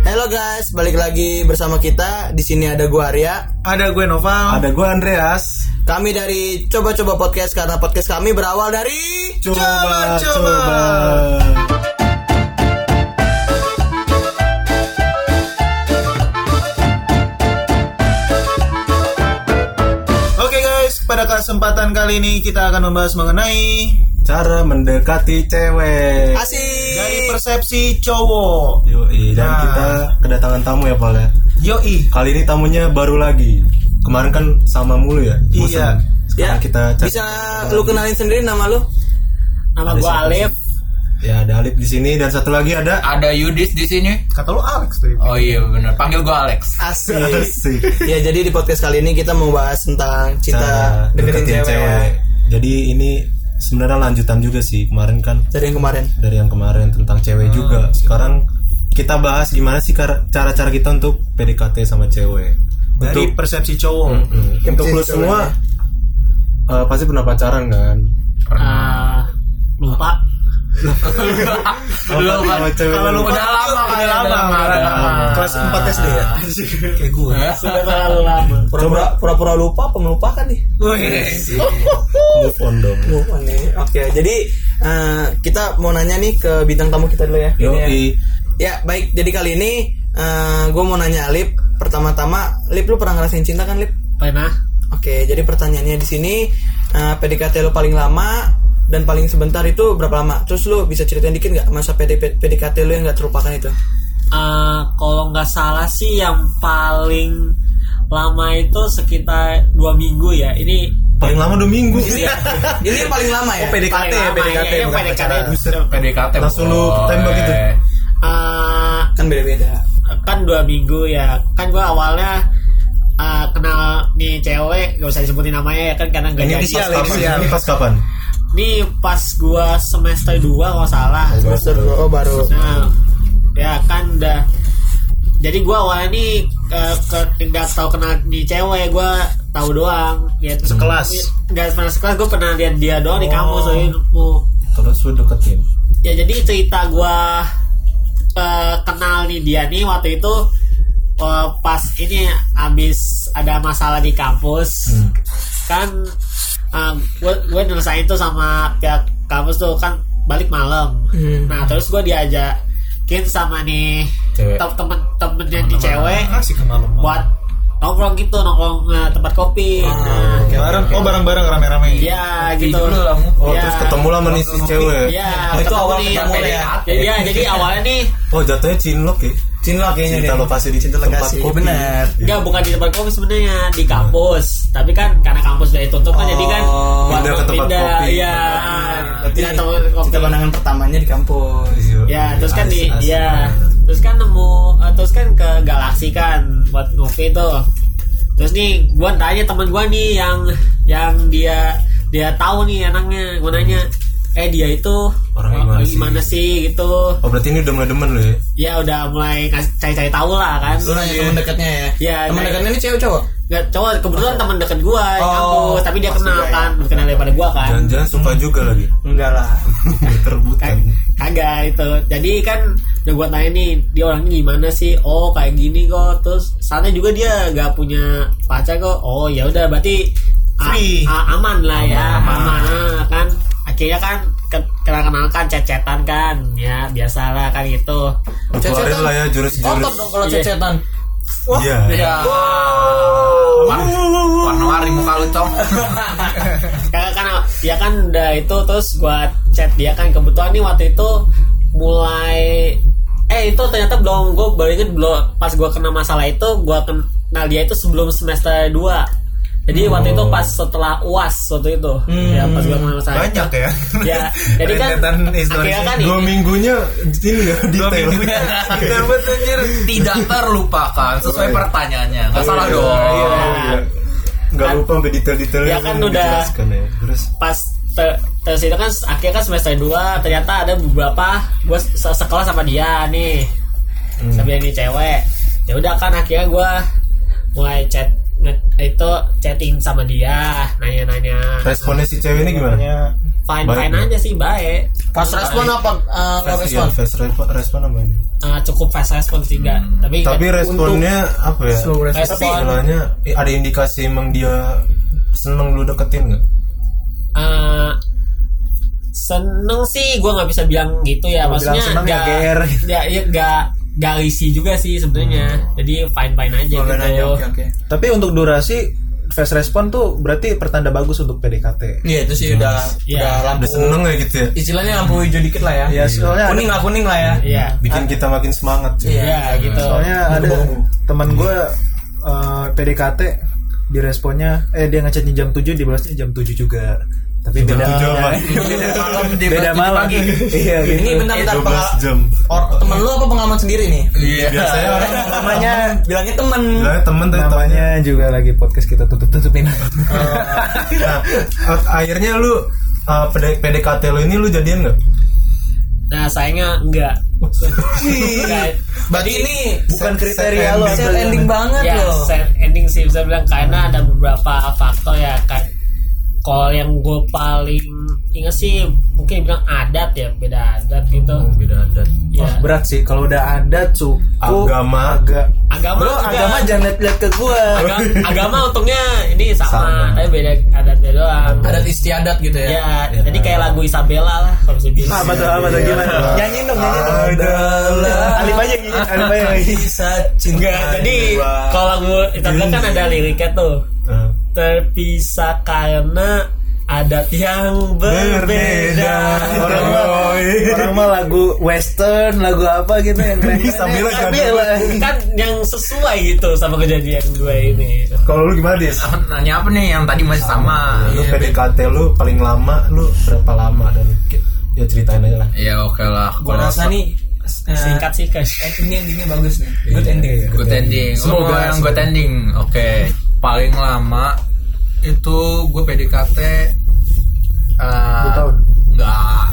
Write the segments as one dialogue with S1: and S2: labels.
S1: Halo guys, balik lagi bersama kita. Di sini ada gua Arya.
S2: Ada gue Noval.
S3: Ada gue Andreas.
S1: Kami dari coba-coba podcast karena podcast kami berawal dari
S3: Coba,
S2: Coba,
S3: coba.
S2: coba. Oke guys, pada kesempatan kali ini kita akan membahas mengenai
S3: Cara mendekati cewek.
S2: dari
S1: asik.
S2: persepsi cowok.
S3: Yoi, dan
S2: Nah.
S3: kita kedatangan tamu ya, Pal ya.
S2: Yoi.
S3: Kali ini tamunya baru lagi. Kemarin kan sama mulu ya. bosen.
S2: Iya.
S3: Sekarang kita cari-
S1: Ya, Bisa lu kenalin sendiri nama lu?
S4: Nama
S3: Ada
S4: gue
S3: siapa
S4: Alif,
S3: Ya, ada Alif di sini dan satu lagi ada
S4: ada Yudis di sini.
S2: Kata lu Alex tadi.
S4: Oh iya benar, panggil gue Alex.
S1: Asik.
S3: Asik.
S1: ya jadi di podcast kali ini kita mau bahas tentang cinta
S3: Cara
S1: deketin cewek. ya.
S3: Jadi ini sebenarnya lanjutan juga sih. Kemarin kan
S1: Dari yang kemarin.
S3: dari yang kemarin tentang
S4: Ah,
S3: cewek juga. Sekarang kita bahas gimana sih kar- cara-cara kita untuk PDKT sama cewek.
S2: Dari
S3: Untuk-
S2: persepsi cowok.
S3: Mm. Untuk lu semua eh, pasti pernah pacaran kan?
S4: Ah, lupa.
S3: Lupa
S4: Lupa.
S3: sama cewek
S4: Kalau
S3: lu.
S4: lupa udah lama,
S2: udah lama,
S4: udah lama.
S2: Kelas 4 SD ya. Kayak gue.
S4: Sudah
S1: Terlalu lama. Pura-pura pura-pura lupa apa melupakan nih?
S3: Move on dong.
S1: Move on nih. Oke, jadi eh, kita mau nanya nih ke bintang tamu kita dulu ya.
S3: Yo,
S1: Ini ya. Ya baik, jadi kali ini gue mau nanya Lip. Pertama-tama, Lip lu pernah ngerasain cinta kan Lip?
S4: Pernah?
S1: Oke, jadi pertanyaannya di sini eh, PDKT lu paling lama dan paling sebentar itu berapa lama? Terus lu bisa ceritain dikit nggak masa PD PDKT lu yang nggak terlupakan itu?
S4: Eh, kalau nggak salah sih yang paling lama itu sekitar dua minggu ya. Ini
S3: paling lama dua minggu.
S1: Ini yang paling lama ya?
S4: PDKT ya, PDKT bukan pacaran.
S3: Buset.
S5: PDKT
S3: Langsung lu
S5: boy.
S3: tembak gitu.
S4: eh,
S1: Kan beda-beda.
S4: kan dua minggu ya kan gue awalnya eh, kenal nih cewek gak usah disebutin namanya ya kan karena gak jadi
S3: Pas
S2: Inisial,
S3: kapan?
S2: inisial.
S3: Ini pas kapan?
S4: Ini pas gua semester 2 kalau nggak salah.
S1: Semester dua, oh baru.
S4: Nah, ya kan udah. Jadi gua awalnya nih eh, ke nggak tahu kenal nih cewek, gua tahu doang. Ya, terus-
S2: Sekelas?
S4: Nggak pernah sekelas, gua pernah lihat dia doang di kampus soalnya nemu.
S3: Terus lu deketin.
S4: Ya jadi cerita gua eh, kenal nih dia nih waktu itu eh, pas ini abis ada masalah di kampus
S3: Hmm.
S4: kan um, gue gue nyelesain tuh sama pihak kampus tuh kan balik malam
S1: Hmm.
S4: nah terus gue diajakin sama nih
S3: Cewek.
S4: tem- temen temennya nih cewek
S2: Asik kemalam.
S4: buat nongkrong gitu nongkrong eh, tempat kopi
S3: Ah,
S4: nah,
S1: oke,
S2: Bareng, oh bareng-bareng rame-rame.
S4: iya gitu
S5: dulu lah, Mu.
S3: Oh,
S4: Iya.
S3: terus ketemu lah sama nih si cewek.
S4: Iya,
S1: Oh, itu
S4: ketemu
S1: awal
S4: nih.
S1: ketemu ya.
S4: Jadi- Iya, jadi awalnya nih
S3: Oh, jatuhnya cinlok ya.
S1: Cinta kayaknya
S3: Cinta
S1: deh.
S3: lo pasti di
S1: Cinta
S3: tempat
S1: lokasi.
S3: kopi.
S1: Bener.
S4: Enggak, bukan di tempat kopi sebenarnya di kampus. Tapi kan karena kampus udah ditutup kan, jadi kan
S1: Oh,
S3: pindah
S4: buat
S3: ke tempat
S4: pindah,
S3: kopi.
S4: Iya,
S1: Berarti
S4: pindah tempat kopi.
S1: cinta pandangan pertamanya di kampus.
S3: Iya.
S4: Ya, terus kan di,
S3: Asik,
S4: ya,
S3: asik.
S4: terus kan nemu, eh, terus kan ke Galaksi kan buat ngopi itu. Terus nih, gua tanya temen gua nih yang yang dia dia tahu nih anaknya, gua nanya, eh dia itu
S3: Orangnya
S4: orang
S3: gimana
S4: gimana sih? gitu.
S3: Oh, berarti ini udah mulai demen lo ya.
S4: Ya udah mulai ngas- cari-cari tahu lah kan.
S1: Lu nanya temen dekatnya ya?
S4: Iya,
S1: Temen
S4: iya.
S1: dekatnya ini cewek cowok?
S4: Gak cowok kebetulan teman deket gua di
S1: Oh,
S4: kampus, tapi dia
S1: pasti
S4: kenal
S1: dia ya.
S4: kan, lebih kenal daripada gua kan.
S3: Jangan-jangan suka juga lagi.
S1: Enggak lah.
S3: Terbutan.
S4: Kag- kagak itu jadi kan udah gua tanya nih dia orangnya gimana sih oh kayak gini kok terus sana juga dia gak punya pacar kok oh ya udah berarti a-
S2: Free.
S4: a- aman lah ya aman, Ah, kan akhirnya kan kenal kenalkan cecetan kan ya biasalah kan itu
S3: Lu Keluarin lah ya
S1: Otot
S3: jurus-jurus.
S1: dong kalau
S4: Iya.
S1: cecetan. Wah.
S3: Iya.
S5: Ya. Warna- Warna-warni muka lu, Cong.
S4: karena kan ya kan udah itu terus gua chat dia kan kebetulan nih waktu itu mulai eh itu ternyata belum gue baru inget belum pas gua kena masalah itu gua kenal dia itu sebelum semester 2 jadi waktu itu pas setelah uas waktu itu ya pas gua kena masalah itu.
S2: Banyak ya.
S4: ya jadi kan
S2: Rentetan historisnya.
S4: akhirnya kan
S3: Dua minggunya ini ya
S2: Dua
S3: detail.
S2: minggu ya. Kita buat anjir.
S5: Tidak terlupakan sesuai pertanyaannya. Enggak salah
S3: Iya,
S5: dong.
S3: iya, iya. Nggak
S4: Kan-
S3: lupa sampai detail-detailnya.
S4: Ya kan
S3: belum
S4: udah.
S3: dijelaskan ya. Terus
S4: pas ter terus itu kan akhirnya kan semester 2 ternyata ada beberapa gue sekelas sama dia nih
S3: Hmm.
S4: sama yang ini cewek ya udah kan akhirnya gue mulai chat nge- itu chatting sama dia nanya-nanya
S6: Iya.
S3: responnya si cewek ini gimana?
S2: Ya.
S4: fine
S3: Baik,
S4: fine
S3: ya?
S4: aja sih baik
S1: Nah,
S7: Fast respon
S1: iya.
S7: apa eh, nggak
S3: Fast-
S7: respon?
S3: iya, fast respon, respon apa ini?
S4: Eh, cukup fast respon sih enggak tapi
S3: Hmm. Tapi responnya apa ya?
S1: Slow respon.
S4: Respon.
S3: Istilahnya eh, ada indikasi emang dia seneng lu deketin nggak?
S4: eh, seneng sih gue nggak bisa bilang gitu ya
S3: Kalau bilang
S4: maksudnya
S3: seneng ya GR.
S4: ya iya nggak nggak risih juga sih sebenarnya jadi fine fine aja
S1: Boleh nanya,
S4: gitu
S1: oke oke.
S7: Tapi untuk durasi
S6: Fast respon tuh berarti pertanda bagus untuk PDKT.
S1: Iya itu sih udah
S4: Iya.
S1: udah lampu.
S3: Udah seneng ya gitu ya?
S1: Istilahnya lampu hijau dikit lah ya.
S2: Iya,
S6: Ya soalnya
S1: Kuning lah kuning lah ya.
S4: Iya,
S3: Bikin kita makin semangat. cuy.
S1: Iya.
S4: iya gitu
S6: soalnya ada teman eh, gue PDKT diresponnya eh dia ngechatnya jam 7 dibalasnya jam 7 juga. Tapi beda
S3: tujuh apa?
S1: Malam di
S6: beda malam. Iya gitu.
S1: Ini bentar-bentar
S3: 12 jam.
S1: Or, temen lu apa pengalaman sendiri nih?
S5: Iya.
S3: Biasanya orang
S6: Namanya
S1: Bilangnya temen.
S3: bilangnya ya temen tapi
S6: namanya juga lagi podcast kita tutup-tutupin.
S3: Nah, ak- akhirnya lu uh, PD- PDKT lu ini lu jadian nggak?
S4: nah sayangnya enggak Enggak.
S1: Berarti ini
S6: Bukan kriteria
S3: lo.
S6: lo.
S1: sad ending banget
S4: ya
S1: loh.
S4: sad ending sih bisa bilang karena ada beberapa faktor ya kan kalau yang gue paling inget sih mungkin bilang adat ya beda adat gitu
S3: Beda adat.
S4: ya
S6: Berat sih kalau udah ada cukup
S3: Agama. Iya.
S6: agak
S4: agama
S6: Lo
S4: juga.
S6: agama jangan lihat-lihat ke gua.
S4: Aga- agama untungnya ini sama,
S3: Sama.
S4: tapi beda adatnya doang
S1: Adat istiadat gitu
S4: ya,
S5: Iya.
S1: ya.
S4: jadi kayak lagu Isabella lah kalau bisa bilang
S6: Apa tuh apa tuh gimana? Nyanyiin dong, nyanyiin dong.
S1: Adalah
S6: Alif aja gini, alif aja gitu. gini.
S1: kisah cinta.
S4: Enggak, jadi kalau lagu Isabella kan ada liriknya tuh
S3: Nah.
S4: terpisah karena adat yang berbeda
S6: Orang mah, orang mah lagu western, lagu apa gitu yang keren.
S3: Sambil
S6: Tapi
S3: kan.
S6: ya, lah.
S4: kan yang sesuai gitu sama kejadian gue ini
S3: Kalau lu gimana Dis? Nah,
S5: Nanya apa nih yang tadi masih sama? Iya,
S3: Lu PDKT lu paling lama lu berapa lama dan ya ceritain aja lah.
S5: Ya oke lah.
S1: Gua
S5: Kalau-
S1: rasa nih eh,
S4: singkat sih guys
S1: endingnya endingnya bagus nih. Good ending.
S5: Good ending. Semoga
S1: Semoga-
S5: Oh, yang good ending. Oke. Paling lama itu gue PDKT eh
S6: tahun?
S5: Enggak.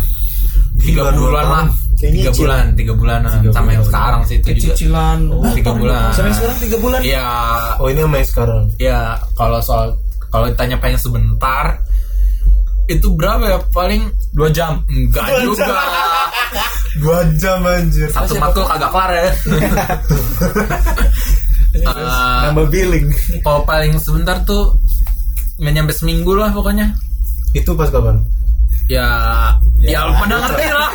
S5: Tiga
S3: Tiga, dua
S5: bulan lah.
S3: tahun.
S6: Kayaknya
S5: Tiga
S6: cil.
S5: bulan, tiga bulan
S3: Tiga
S5: sama yang
S3: bulan.
S5: sekarang sih itu juga.
S1: Cicilan.
S5: Tiga bulan.
S6: Sampai sekarang tiga bulan.
S5: Iya,
S3: Oh ini sama yang sekarang.
S5: iya. Kalau soal kalau ditanya pengen sebentar itu berapa ya paling
S1: Dua jam.
S5: enggak juga
S3: Dua jam anjir.
S5: satu matkul kagak kelar ya Eh,
S6: Nambah billing.
S5: kalau paling sebentar tuh nggak nyampe seminggu lah pokoknya
S3: Itu pas kapan?
S5: ya ya, lu pada ngerti lah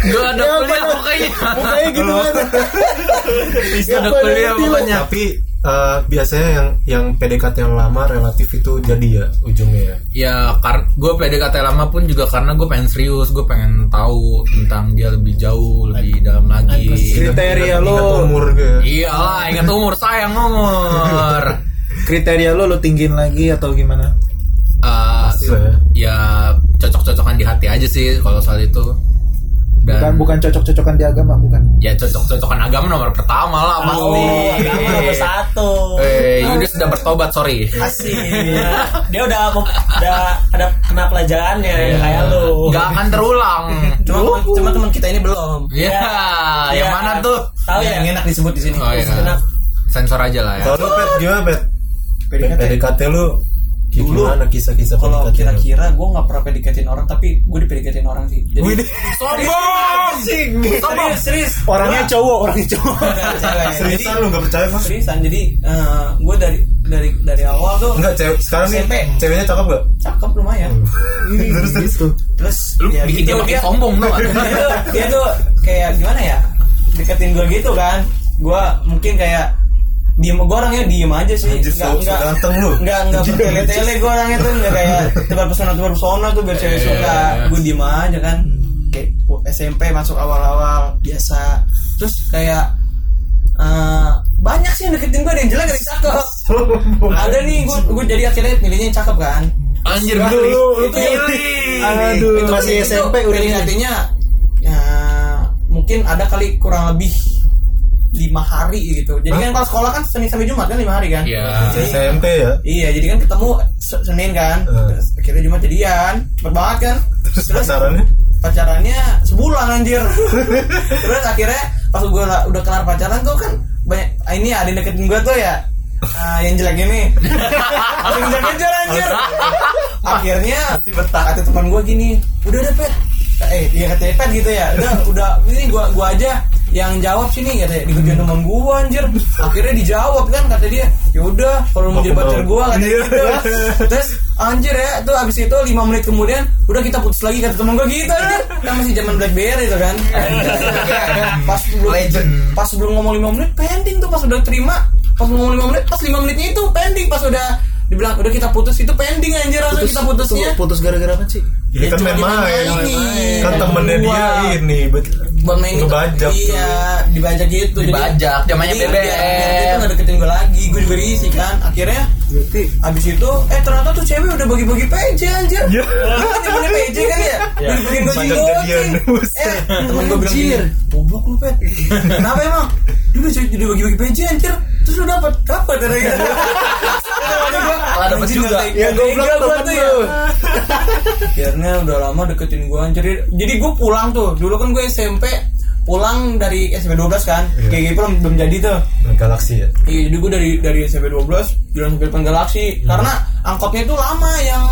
S5: gak ada kuliah Ya, pokoknya
S6: Kayak gitu kan.
S5: gak ada kuliah pokoknya
S3: Tapi eh, biasanya yang yang PDKT yang lama relatif itu jadi ya ujungnya ya.
S5: ya karena gue PDKT lama pun juga karena gue pengen serius gue pengen tahu tentang dia lebih jauh lebih dalam lagi
S6: Kriteria Iya, lo,
S3: Ingat umur gue.
S5: iyalah ingat umur sayang umur
S6: kriteria lo lo tinggiin lagi atau gimana?
S5: Eh,
S3: Pasti lah ya.
S5: ya cocok-cocokan di hati aja sih kalau soal itu
S6: Bukan
S5: dan
S6: bukan cocok-cocokan di agama, bukan.
S5: ya cocok-cocokan agama nomor pertama lah pasti
S4: oh agama nomor satu
S5: Eh, Yudi sudah bertobat, sorry.
S4: Asik. Dia udah udah ada kena pelajarannya ya, kayak lu.
S5: Gak akan terulang.
S1: Cuma cuma teman kita ini belum.
S5: Ya, yang
S4: Iya.
S5: mana tuh?
S4: Tahu ya?
S1: Yang enak disebut di sini.
S5: Oh iya.
S4: Enak.
S5: Sensor aja lah ya.
S3: Kalau lu pet gimana pet? PDKT, lu
S1: Dulu,
S3: gimana kisah-kisah
S1: Kalau
S3: PDKT lu?
S1: kira-kira gue nggak pernah pedikatin orang tapi gue dipedikatin orang sih. Jadi
S5: Sombong! Sombong!
S1: serius.
S6: Orangnya
S3: Iya,
S6: cowok, orangnya cowok.
S1: Serius.
S3: Seriusan lu gak percaya mas?
S1: Seriusan. Jadi gue dari dari dari awal tuh
S3: Enggak, cewek sekarang nih
S1: SMP.
S3: ceweknya cakep gak?
S1: cakep lumayan.
S3: Terus terus tuh.
S1: Terus
S5: Lu bikin dia
S1: gitu,
S5: makin sombong tuh.
S1: dia tuh dia tuh kayak gimana ya deketin gue gitu kan gue mungkin kayak diem gue orangnya diem aja sih
S3: Anjir, so- so ganteng lu.
S1: nggak nggak
S3: Anjir.
S1: bertele-tele gue orangnya tuh nggak kayak tebar pesona tebar pesona tuh biar cewek
S5: Iya,
S1: suka
S5: iya, iya.
S1: gue diem aja kan kayak gua SMP masuk awal-awal biasa terus kayak eh, banyak sih yang deketin gue ada yang jelek ada yang cakep ada nih gue gue jadi akhirnya milihnya yang cakep kan
S5: Anjir,
S1: Lu-
S5: pilih.
S1: lu- lu-
S5: Pilih.
S6: Aduh,
S1: kan
S6: masih SMP udah
S1: pilih
S6: ini.
S1: hatinya ya mungkin ada kali kurang lebih lima hari gitu jadi kan kalau sekolah kan senin sampai jumat kan lima hari kan
S5: Iya.
S1: Jadi-
S3: SMP ya?
S1: iya jadi kan ketemu Se- senin kan
S3: Eh.
S1: terus akhirnya jumat jadian cepet banget kan
S3: Terus pacarannya?
S1: pacarannya sebulan anjir terus akhirnya pas gue udah kelar pacaran tuh kan banyak ah, ini ada yang ya. Nah, deketin gue tuh ya ah, yang jelek ini Langsung kejar-kejar anjir akhirnya kata teman gue gini udah udah pet eh dia katanya pet gitu ya udah udah ini gua gua aja yang jawab sini katanya dikerjain teman gua anjir akhirnya dijawab kan kata dia ya udah kalau mau jadi pacar gua kata dia gitu. terus anjir ya tuh abis itu lima menit kemudian udah kita putus lagi kata temen gua gitu anjir kan masih zaman blackberry itu kan pas belum
S5: Legend.
S1: pas sebelum ngomong lima menit pending tuh pas udah terima pas ngomong lima menit pas lima menitnya itu pending pas udah dibilang udah kita putus itu pending anjir langsung kita putusnya
S7: putus gara-gara apa sih?
S3: Ini
S1: Ya,
S3: kan
S1: cuma
S3: main main,
S1: dimain-mainin.
S3: kan temennya dia
S1: Wah.
S3: ini bet-
S1: buat main itu
S3: ngebajak tuh.
S1: iya dibajak gitu jadi-
S5: Dibajak, zamannya
S1: Jadi
S5: BBM.
S1: biar- biar dia tuh nggak deketin gue lagi gue juga risih kan akhirnya abis itu eh ternyata tuh cewek udah bagi-bagi PJ anjir
S3: Iya.
S1: Lu kan temennya PJ kan ya bagi-bagiin gue
S3: Banyak
S1: jigotin
S3: jadian.
S1: eh temen gue bilang gini goblok lu pet kenapa emang dulu jadi udah bagi-bagi PJ anjir terus lu dapat dapat ada gitu
S5: Malah dapet juga.
S1: ya goblok tuh ya akhirnya udah lama deketin gue anjir jadi gue pulang tuh dulu kan gue SMP pulang dari SMP 12 kan
S3: Iya.
S1: kayak belum belum jadi tuh
S3: Galaxy ya.
S1: Iya, jadi gue dari dari SMP 12 jalan sampai depan Galaxy
S3: Hmm.
S1: karena angkotnya itu lama yang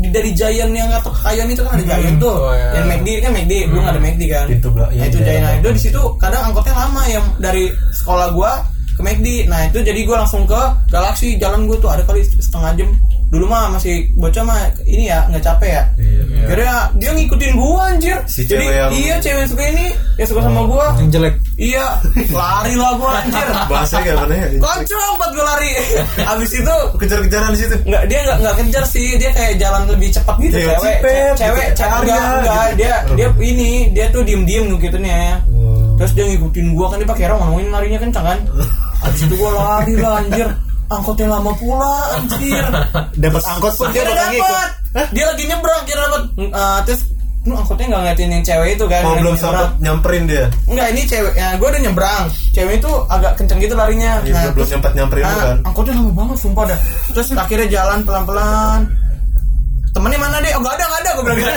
S1: di dari Giant yang atau Kekayaan itu kan
S3: Hmm.
S1: ada Giant tuh.
S5: Oh, iya.
S1: Yang McD kan McD, belum ada McD kan.
S3: Itu belak-
S1: Nah,
S3: iya,
S1: itu
S3: iya,
S1: Giant. Nah,
S3: iya.
S1: itu di situ kadang angkotnya lama yang dari sekolah gua ke McD. Nah, itu jadi gua langsung ke Galaxy jalan gue tuh ada kali setengah jam. Dulu mah masih bocah mah ini ya nggak capek ya.
S3: Iya.
S1: Akhirnya dia ngikutin gua anjir.
S3: Si
S1: jadi
S3: cewek yang- Oh,
S1: iya cewek yang suka ini yang suka sama gua.
S6: yang jelek
S1: Iya, lari lah gua anjir.
S3: Bahasanya kayak mana ya?
S1: Kocok buat gue lari Abis itu
S3: Kejar-kejaran di situ.
S1: nggak dia nggak nggak kejar sih dia kayak jalan lebih cepat gitu
S3: Iya,
S1: cewek
S3: cipet,
S1: cewek
S3: gitu.
S1: cewek enggak
S3: Arya,
S1: enggak
S3: gitu.
S1: dia dia ini dia tuh diem diem gitu nih terus dia ngikutin gua kan dia pakai helm ngomongin larinya kencang kan abis itu gua lari lah anjir angkotnya lama pula anjir
S6: dapat angkot pun dia
S1: akhirnya
S6: bakal ngikut
S1: dapat dia lagi nyebrang dia dapat Eh, terus nu angkotnya nggak ngeliatin yang cewek itu kan
S3: Oh
S1: yang
S3: belum
S1: nyebrang.
S3: sempat nyamperin dia.
S1: Enggak ini cewek ya, Gue udah nyebrang Cewek itu agak kenceng gitu larinya
S3: Iya, belum- belum
S1: terus-
S3: sempat nyamperin lu kan?
S1: Ah, Angkotnya lama banget sumpah dah Terus akhirnya jalan pelan-pelan Temennya mana deh? Oh gak ada, gak ada Gue bilang gitu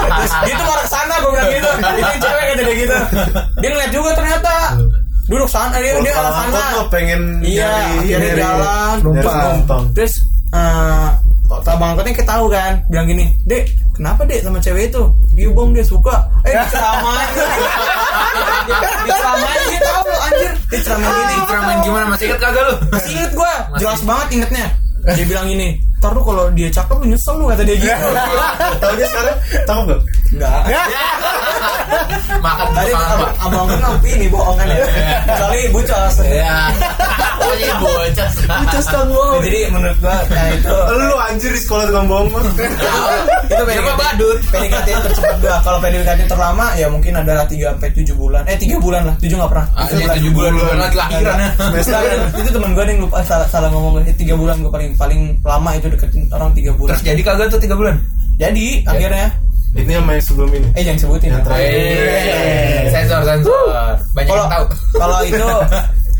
S1: Terus dia tuh marah sana Gue bilang gitu Itu cewek kata dia gitu Dia ngeliat juga ternyata Duduk sana Dia,
S3: Kalau
S1: dia
S3: salah
S1: arah sana
S3: angkot lo pengen
S1: Iya, akhirnya
S3: nyari-
S1: jalan,
S3: nyari
S1: numpang.
S3: penumpang.
S1: Terus eh kok abang angkotnya kita tahu kan bilang gini, "Dek, kenapa Dek sama cewek itu?" "Iya, Bang, dia suka." Eh, diceramain. diceramain dia tahu lu anjir. Diceramain
S3: Ah,
S1: gini.
S5: Ultraman gimana masih ingat kagak lu?
S1: Masih inget gua, jelas banget ingetnya. Dia bilang gini, "Ntar lu kalau dia cakep lu nyesel lu," kata dia gitu.
S3: Tahu dia sekarang tahu nggak?
S1: Enggak.
S5: Makan
S1: Tadi
S5: apa?
S1: abang- abang kan ngopi nih bohongan ya. Kecuali bucos.
S5: Ya. Pokoknya bocah. Bocah
S1: Jadi menurut gua nah itu
S3: Lu anjir di sekolah tukang bohong mah.
S1: itu PDKT
S3: gitu.
S5: Siapa badut?
S1: PDKT tercepat gua kalau PDKT terlama ya mungkin adalah 3 sampai 7 bulan eh 3 bulan lah 7 nggak pernah
S3: Ah, iya,
S5: Anjir 7 bulan dua bulan lagi lahiran.
S1: Nah, itu teman gue yang lupa salah, salah ngomong eh, tiga bulan gue paling paling lama itu deketin orang tiga bulan
S5: Terus jadi kagak tuh 3 bulan?
S1: jadi akhirnya
S3: Ini yang main sebelum ini.
S1: eh jangan sebutin ya.
S3: Iya.
S5: Eh, sensor sensor. Banyak
S1: kalau
S5: yang tahu.
S1: kalau itu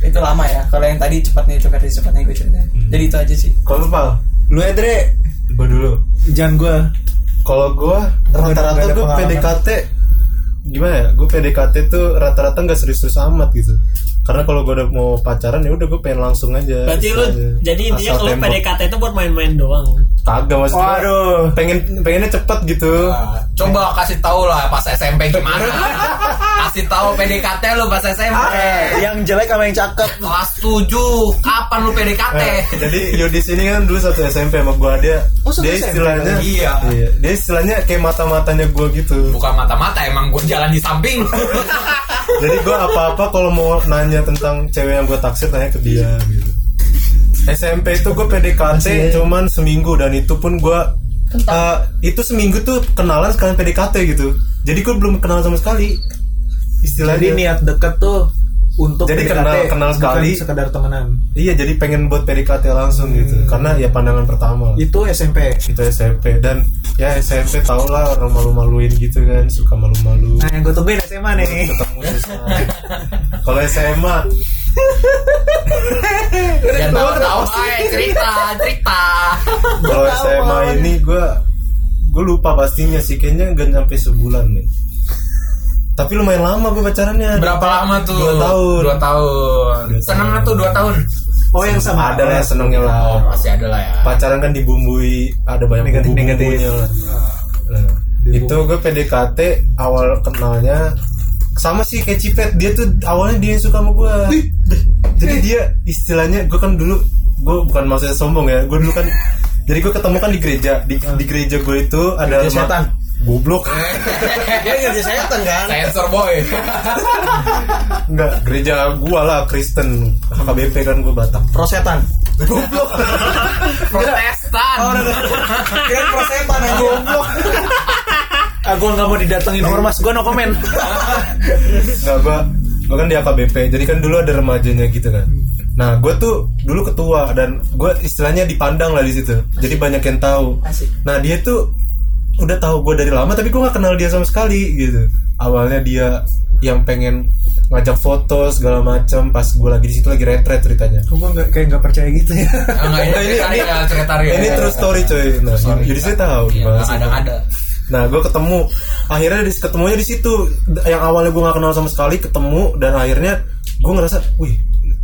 S1: itu lama ya kalau yang tadi cepatnya cepatnya cepatnya gue cerita jadi itu aja sih
S3: Kalau lu pal,
S6: lu Edre
S3: gua dulu.
S6: jangan gue
S3: Kalau gua
S6: Nggak
S3: rata-rata
S6: ada
S3: gua
S6: pengalaman.
S3: PDKT gimana ya? Gua PDKT tuh rata-rata nggak serius-serius amat gitu. Karena kalau gua udah mau pacaran ya udah gua pengen langsung aja.
S4: Berarti lu
S3: Aja.
S4: jadi intinya
S3: Asal
S4: kalau
S3: tembok.
S4: PDKT itu buat main-main doang.
S3: kagak maksudnya.
S6: Waduh.
S3: Pengen pengennya cepet gitu.
S5: Nah, Coba kasih tahu lah pas SMP gimana. Kasih tahu PDKT lu pas SMP.
S3: Ah.
S6: yang jelek sama yang cakep
S5: Kelas 7 kapan lu PDKT?
S3: Eh, jadi Yudi sini kan dulu satu SMP sama gua dia.
S6: Oh, satu
S3: dia
S6: SMP.
S3: istilahnya
S5: Iya.
S3: Iya, Dia istilahnya kayak mata-matanya gua gitu.
S5: Bukan mata-mata emang gue jalan di samping.
S3: Jadi gua apa-apa kalau mau nanya tentang cewek yang gua taksir nanya ke dia gitu. SMP itu gue
S6: ya?
S3: PDKT cuman seminggu dan itu pun gua eh, itu seminggu tuh kenalan sekalian PDKT gitu. Jadi gue belum kenal sama sekali.
S6: jadi ya?
S3: Istilahnya
S6: niat deket tuh untuk
S3: Jadi kenal- kenal
S6: bukan
S3: sekali.
S6: sekedar temenan
S3: Iya, jadi pengen buat PDKT langsung gitu.
S6: Hmm.
S3: Karena ya pandangan pertama.
S6: itu SMP
S3: Itu SMP dan ya SMP tau lah orang malu-maluin gitu kan, suka malu-malu.
S6: nah yang gue temuin SMA nih
S3: Ketemu susah. Kalau SMA
S5: Jangan tahu-tahu sih cerita, cerita.
S3: kalau SMA ini gue gue lupa pastinya sih kayaknya nggak nyampe sebulan nih tapi lumayan lama gue pacarannya
S5: Berapa lama tuh?
S3: Dua tahun.
S5: Dua tahun. Seneng nggak tuh dua tahun?
S6: Oh yang sama
S3: ada lah yang senengnya lah
S5: pasti ada lah ya
S3: pacaran kan dibumbui ada banyak
S6: Negatif-
S3: bumbu bumbunya
S6: negatif.
S3: lah Nah, itu gue PDKT awal kenalnya sama sih kayak Cipet dia tuh awalnya dia yang suka sama gue jadi dia istilahnya gue kan dulu gue bukan maksudnya sombong ya gue dulu kan jadi gue ketemu kan di gereja di, di gereja gue itu ada
S7: Gereja
S3: rumah-
S7: setan.
S3: goblok
S7: Dia ngerti setan kan?
S5: sensor boy
S3: enggak gereja gue lah Kristen HKBP kan gue Batak
S7: Prosetan.
S3: goblok
S5: protestan
S1: Kira prosetan aja.
S6: Ah, gua nggak mau didatengin ormas, gua no comment.
S3: Nah, gua gua kan di AKBP. Jadi kan dulu ada remajanya gitu kan. Nah, gua tuh dulu ketua dan gua istilahnya dipandang lah di situ. Jadi banyak yang tahu. Nah, dia tuh udah tahu gua dari lama tapi gua nggak kenal dia sama sekali gitu. Awalnya dia yang pengen ngajak foto segala macam pas gua lagi di situ lagi retret ceritanya.
S6: Gua nggak kayak nggak percaya gitu ya.
S5: enggak ini sekretari ya sekretari ya
S3: Nah, Ini true story coy. Nah, jadi saya tahu.
S5: Iya,
S3: Bahas
S5: ada
S3: itu.
S5: ada
S3: Nah, gue ketemu. Akhirnya di ketemunya di situ. D- Yang awalnya gue gak kenal sama sekali ketemu dan akhirnya gue ngerasa, wih,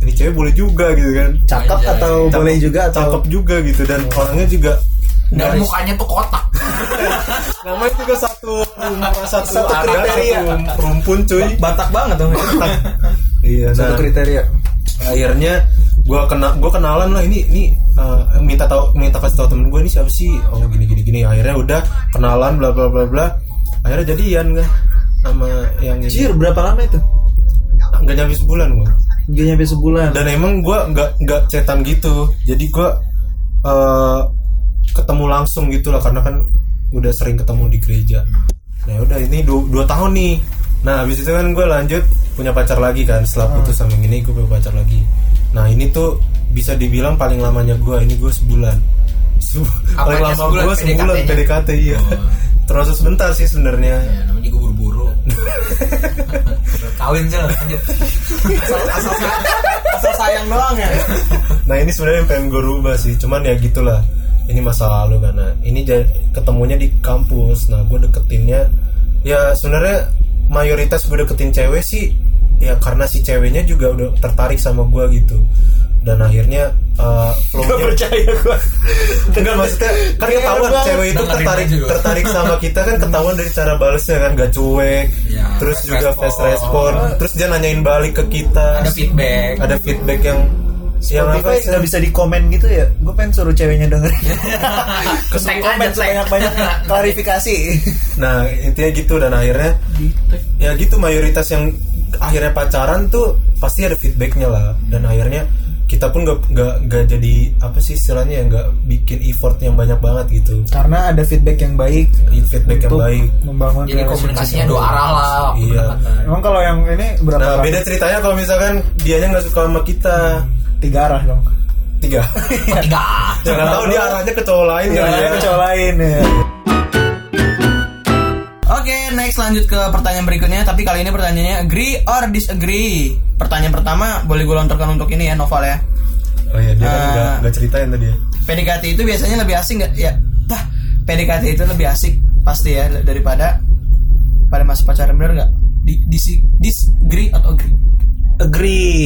S3: ini cewek boleh juga gitu kan.
S7: Cakep
S5: Anjay.
S7: atau
S3: Cakep-
S7: boleh juga atau
S3: cakep juga gitu dan orangnya juga
S5: dan Nah, mukanya tuh kotak
S3: namanya juga satu rumah satu,
S7: Satu
S3: area,
S7: kriteria.
S3: satu rumpun cuy.
S7: Batak banget dong.
S3: Iya,
S6: Satu
S3: nah,
S6: kriteria.
S3: akhirnya gue kena gue kenalan lah ini ini eh, minta tahu minta kasih tahu temen gue ini siapa sih oh gini gini gini akhirnya udah kenalan bla bla bla bla akhirnya jadian gak sama yang ini.
S7: Cier berapa lama itu?
S3: nggak nyampe sebulan gua
S7: Gak nyampe sebulan.
S3: dan emang gua nggak nggak cetan gitu jadi gua eh, ketemu langsung gitu lah karena kan udah sering ketemu di gereja nah udah ini du- dua, tahun nih nah habis itu kan gua lanjut punya pacar lagi kan
S5: Ah.
S3: setelah putus sama yang ini gue punya pacar lagi nah ini tuh bisa dibilang paling lamanya gua ini gua sebulan Se- paling
S5: Apanya
S3: lama
S5: sebulan?
S3: gua sebulan
S5: PDKT-nya?
S3: PDKT iya
S5: Oh.
S3: terus sebentar sih sebenarnya
S5: ya namanya juga buru-buru kawin sih lanjut
S1: Asal sayang doang ya.
S3: Nah ini sebenarnya yang pengen gue rubah sih, cuman ya gitulah. Ini masa lalu karena ini ja- ketemunya di kampus. Nah gue deketinnya, ya sebenarnya mayoritas gue deketin cewek sih, ya karena si ceweknya juga udah tertarik sama gue gitu. Dan akhirnya uh, flow-nya
S7: percaya gua.
S3: Enggak maksudnya kan
S7: Iya,
S3: ketahuan
S7: bener.
S3: cewek itu
S5: Dengerin
S3: tertarik
S5: aja gua.
S3: tertarik sama kita kan ketahuan dari cara balesnya kan gak cuek.
S5: Iya,
S3: terus
S5: fast
S3: juga fast respon.
S5: respon.
S3: Terus dia nanyain balik ke kita.
S5: Ada feedback.
S3: Ada feedback yang "Ya, yang apa
S6: Spotify kan?"
S3: sih?
S6: nggak bisa di komen gitu ya. Gua pengen suruh ceweknya dengerin.
S5: Ketek
S7: Komen banyak-banyak klarifikasi.
S3: Nah, intinya gitu dan akhirnya ya gitu mayoritas yang akhirnya pacaran tuh pasti ada feedbacknya lah dan akhirnya kita pun gak, nggak nggak jadi apa sih istilahnya ya nggak bikin effort yang banyak banget gitu
S6: Karena ada feedback yang baik
S3: feedback yang
S6: untuk Ah,
S3: baik
S6: membangun
S5: jadi
S6: relasi
S5: komunikasinya
S6: sosial.
S5: dua arah lah kan. waktu
S3: Iya.
S5: pendekatan.
S6: Emang kalau yang ini berapa?
S3: Nah,
S6: arah?
S3: beda ceritanya kalau misalkan dianya nggak suka sama kita.
S6: Tiga arah dong.
S3: Tiga.
S5: tiga
S3: Jangan tahu dia arahnya ke cowok lain
S6: Tiga
S3: kali
S6: arah Oh,
S3: ya.
S6: Iya, ke cowok lain ya.
S1: Oke, next lanjut ke pertanyaan berikutnya. Tapi kali ini pertanyaannya agree or disagree. Pertanyaan pertama boleh gue lontarkan untuk ini ya Noval ya.
S3: Oh iya, dia kan
S1: Ah.
S3: nggak- nggak ceritain tadi ya.
S1: PDKT itu biasanya lebih asik nggak? Ya, bah, PDKT itu lebih asik pasti ya daripada pada masa pacaran bener nggak? Di, disi- disagree atau agree?
S6: Agree.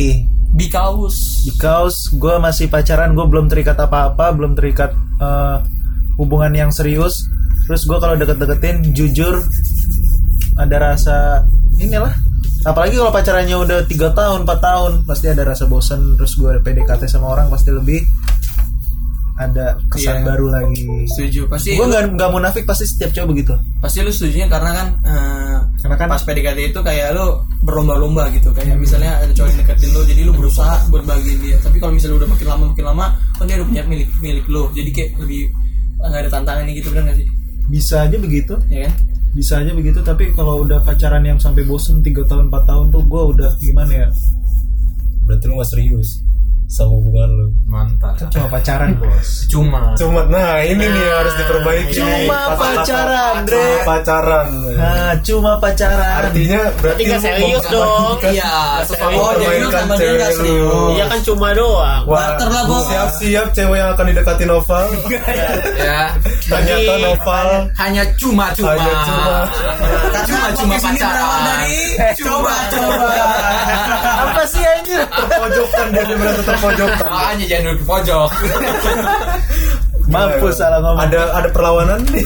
S1: Because
S6: Because gue masih pacaran, gue belum terikat apa-apa, belum terikat eh, hubungan yang serius. Terus gue kalau deket-deketin, jujur ada rasa inilah. Apalagi kalau pacarannya udah tiga tahun, 4 tahun, pasti ada rasa bosen. Terus gue PDKT sama orang pasti lebih ada kesan
S1: Iya.
S6: baru lagi.
S1: setuju pasti.
S6: Gue nggak nggak munafik pasti setiap cowok begitu.
S1: pasti lu setujunya karena kan eh,
S6: Karena kan-
S1: pas PDKT itu kayak lu berlomba-lomba gitu kayak misalnya ada cowok yang deketin lu jadi lu berusaha buat bahagiain dia tapi kalau misalnya udah makin lama makin lama kan dia udah punya milik milik lu jadi kayak lebih eh, nggak ada tantangannya gitu bener gak sih
S6: Bisa aja begitu.
S1: ya kan
S6: bisa aja begitu tapi kalau udah pacaran yang sampai bosen 3 tahun 4 tahun tuh gue udah gimana ya
S3: Berarti lu nggak serius sama hubungan lu.
S5: mantap
S6: cuma pacaran bos
S5: cuma
S3: Cuma nah ini nih yang harus diperbaiki.
S6: cuma
S3: Kata-kata
S6: pacaran Dre
S3: pacaran.
S6: nah cuma pacaran
S3: Artinya berarti
S4: Tapi nggak
S3: lu
S4: serius dong.
S3: memperbaiki-
S5: iya
S1: oh jadi
S4: sesuatu-
S1: lu
S3: mempermainkan
S1: sama dia nggak
S3: cewek lu.
S1: serius
S4: Iya kan cuma doang.
S3: Wah,
S1: Barter lah, Bob.
S3: siap-siap cewek yang akan didekati Noval.
S5: ya
S3: Ternyata
S4: Tapi-
S3: Noval
S5: hanya cuma-cuma
S3: Hanya cuma.
S1: Karena
S5: cuma-cuma
S1: podcast ini berawal
S5: pacaran
S1: Eh,
S5: Eh,
S1: dari coba coba
S6: apa sih anjir
S3: terpojokkan dan dia merasa pojokan.
S5: Makanya jangan duduk di pojok.
S6: Mampus salah ngomong.
S3: Ada ada perlawanan nih.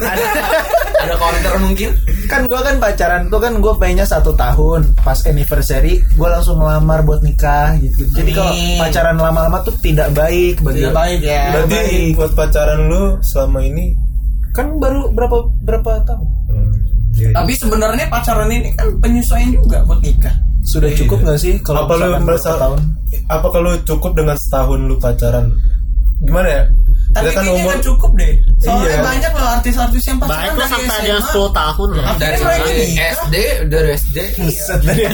S5: Ada counter mungkin.
S6: Kan gua kan pacaran tuh kan gue pengennya satu tahun pas anniversary gue langsung ngelamar buat nikah gitu. Jadi kalau
S1: Amin.
S6: pacaran lama-lama tuh tidak baik bagi
S1: Tidak baik ya.
S3: Berarti buat pacaran lu selama ini
S6: kan baru berapa berapa tahun
S1: Tapi sebenarnya pacaran ini kan penyesuaian juga buat nikah.
S6: sudah cukup nggak sih kalau
S3: apa lu
S6: misalkan
S3: merasa
S6: berapa tahun
S3: apa kalau cukup dengan setahun lu pacaran gimana ya
S1: Tapi
S3: Kita kan
S1: kayaknya
S3: umur
S1: nggak cukup deh. Soalnya
S3: Iya.
S1: banyak loh artis-artis yang
S4: Baik
S1: pacaran
S4: lah
S1: dari
S4: sampai ada
S1: SMA.
S4: 10 tahun loh.
S5: Dari
S1: Akhirnya mereka
S5: dari
S1: nikah.
S5: SD, dari SD.
S6: Iya.